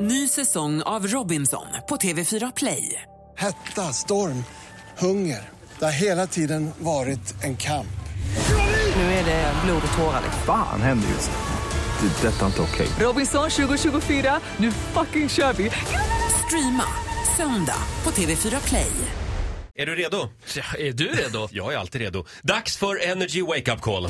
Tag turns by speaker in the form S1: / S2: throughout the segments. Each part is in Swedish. S1: Ny säsong av Robinson på TV4 Play.
S2: Hetta, storm, hunger. Det har hela tiden varit en kamp.
S1: Nu är det blod och tårar.
S3: Fan händer just nu. Det. är Detta är inte okej.
S1: Robinson 2024, nu fucking kör vi! Streama söndag på TV4 Play.
S4: Är du redo?
S5: Ja, är du redo?
S4: Jag är alltid redo. Dags för Energy Wake Up Call.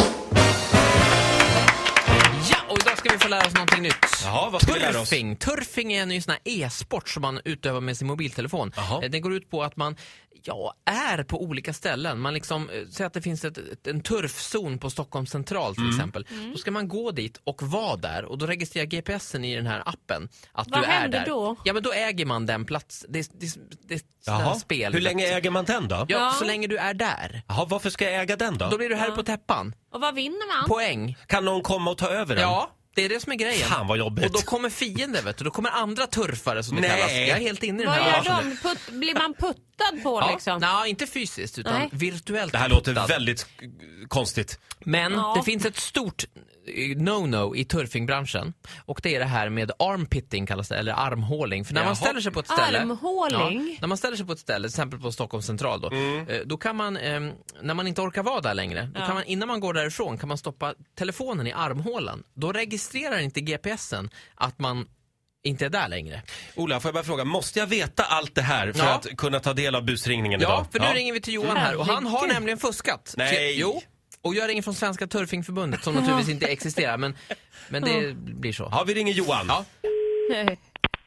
S5: ja, och idag ska vi få lära oss någonting nytt.
S4: Jaha, vad ska vi lära oss?
S5: Turfing. Turfing är en ny sån här e-sport som man utövar med sin mobiltelefon.
S4: Jaha.
S5: Eh, Den går ut på att man ja, är på olika ställen. Man liksom, eh, säg att det finns ett, ett, en turfzon på Stockholm central
S4: Mm.
S5: till exempel.
S6: Mm.
S5: Då ska man gå dit och vara där och då registrerar GPSen i den här appen att
S6: Vad
S5: du är
S6: händer
S5: där.
S6: då?
S5: Ja, men då äger man den plats. Det, det, det, det
S4: Jaha.
S5: spel.
S4: Hur länge äger man den då?
S5: Ja,
S6: Ja.
S5: så länge du är där.
S4: Jaha, varför ska jag äga den
S5: Då
S4: då?
S5: blir du här på täppan.
S6: Och vad vinner man?
S5: Poäng.
S4: Kan någon komma och ta över den?
S5: Ja, det är det som är grejen.
S4: Fan vad jobbigt.
S5: Och då kommer fiender, vet du. Då kommer andra turfare som det
S4: Nej.
S5: kallas. Jag är helt inne i den
S6: Vad
S5: här
S6: gör
S5: branschen nu.
S6: de? Putt, blir man puttad på
S5: Ja,
S6: liksom?
S5: nej, inte fysiskt utan
S6: Nej.
S5: virtuellt.
S4: Det här låter
S5: hotad.
S4: väldigt eh, konstigt.
S5: Men
S6: Ja.
S5: det finns ett stort eh, no-no i turfingbranschen och det är det här med armpitting kallas det, eller armhåling. För när
S4: Jaha.
S5: man ställer sig på ett ställe
S6: Armhåling?
S5: Ja, när man ställer sig på ett ställe, till exempel på Stockholm central då, eh, då kan man, eh, när man inte orkar vara där längre, då kan man, innan man går därifrån kan man stoppa telefonen i armhålan. Då registrerar inte GPSen att man inte är där längre.
S4: Ola, får jag bara fråga, måste jag veta allt det här för
S5: Ja.
S4: att kunna ta del av busringningen idag?
S5: Ja, för nu ringer vi till Johan här och han har
S6: Herregud.
S5: nämligen fuskat.
S4: Nej.
S5: Så- Jo. Och jag ringer från Svenska Turfingförbundet som naturligtvis inte existerar men, men det blir så.
S4: Ja, vi ringer Johan.
S5: Ja.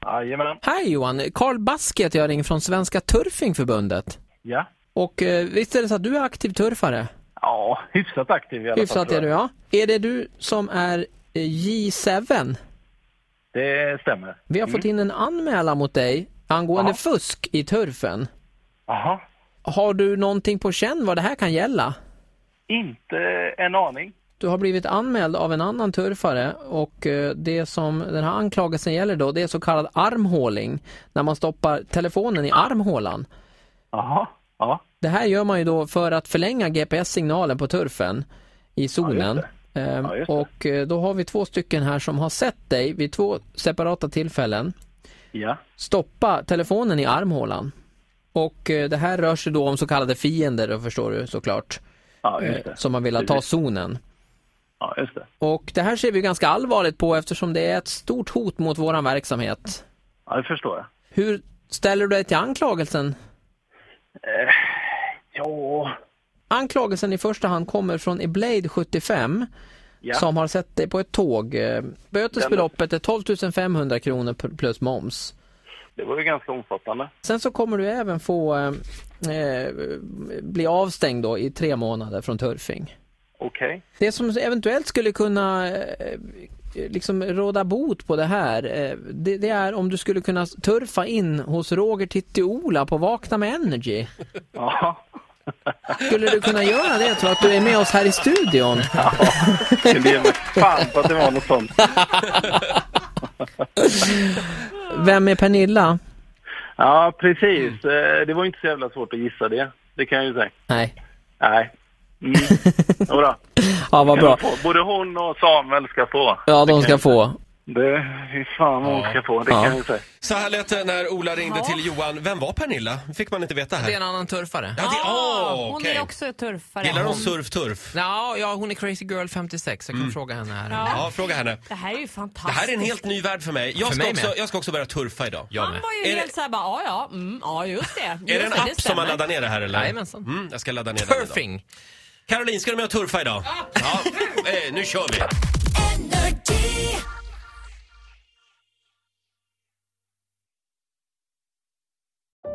S7: Jajamän.
S5: Hej Johan, Karl Baske heter jag ringer från Svenska Turfingförbundet.
S7: Ja.
S5: Och eh, visst är det så att du är aktiv turfare?
S7: Ja, hyfsat aktiv i alla fall.
S5: Hyfsat
S7: tror
S5: är
S7: jag.
S5: du ja. Är det du som är eh, J7?
S7: Det stämmer.
S5: Vi har fått in en anmälan mot dig angående fusk i turfen.
S7: Jaha.
S5: Har du någonting på känn vad det här kan gälla?
S7: Inte en aning.
S5: Du har blivit anmäld av en annan turfare och eh, det som den här anklagelsen gäller då det är så kallad armhåling. När man stoppar telefonen i armhålan.
S7: Jaha. Ja.
S5: Det här gör man ju då för att förlänga GPS-signalen på turfen i zonen. Ehm,
S7: Ja, just det.
S5: och eh, då har vi två stycken här som har sett dig vid två separata tillfällen
S7: Ja.
S5: stoppa telefonen i armhålan. Och eh, det här rör sig då om så kallade fiender då förstår du såklart.
S7: Ja, just
S5: eh,
S7: det.
S5: Som man vill ta
S7: Precis.
S5: zonen.
S7: Ja, just det.
S5: Och det här ser vi ganska allvarligt på eftersom det är ett stort hot mot våran verksamhet.
S7: Ja, det förstår jag.
S5: Hur ställer du dig till anklagelsen?
S7: Ja.
S5: Anklagelsen i första hand kommer från Eblade 75
S7: Ja.
S5: som har sett dig på ett tåg. Eh, Bötesbeloppet är 12 500 kronor p- plus moms.
S7: Det var ju ganska omfattande.
S5: Sen så kommer du även få eh, eh, bli avstängd då i tre månader från Turfing.
S7: Okej.
S5: Det som eventuellt skulle kunna eh, liksom råda bot på det här, eh, det, det är om du skulle kunna turfa in hos Roger Titti-Ola på Vakna med Energy.
S7: Ja.
S5: Skulle du kunna göra det tror jag att du är med oss här i studion?
S7: Skulle ge mig fan på att det var något sånt.
S5: Vem är Pernilla?
S7: Ja, precis. Eh, Det var ju inte så jävla svårt att gissa det. Det kan jag ju säga.
S5: Nej.
S7: Nej. Mm. Jodå.
S5: Ja, vad bra.
S7: Både hon och Samuel ska få.
S5: Ja, de
S7: Det
S5: ska
S7: kan-
S5: få.
S7: Det, fy fan vad hon ska få. Det kan
S5: Ja.
S7: jag ju säga.
S4: Så här lät det när Ola ringde till Johan. Vem var Pernilla? fick man inte veta här.
S5: en annan turfare.
S4: Ja, det...
S6: Ah,
S4: oh,
S6: Hon är också turfare.
S4: Gillar hon surfturf?
S5: Ja, ja, hon är crazy girl 56. Jag kan fråga henne här.
S6: Ja.
S4: Ja, fråga henne.
S6: Det här är ju
S4: Det
S6: fantastiskt.
S4: här är en helt ny värld för mig. Jag,
S5: För
S4: ska,
S5: mig
S4: också,
S5: med.
S4: jag ska också börja turfa idag.
S5: Jag
S6: Han var ju
S4: Är
S6: helt såhär bara, ja ja, mm, ja just det. Just
S4: Är det en app som man
S6: stämmer.
S4: laddar ner det här eller?
S5: Jajamensan.
S4: Mm, jag ska ladda ner den idag.
S5: Turfing!
S4: Caroline, ska du med och turfa idag? Ja. Eh, nu kör vi!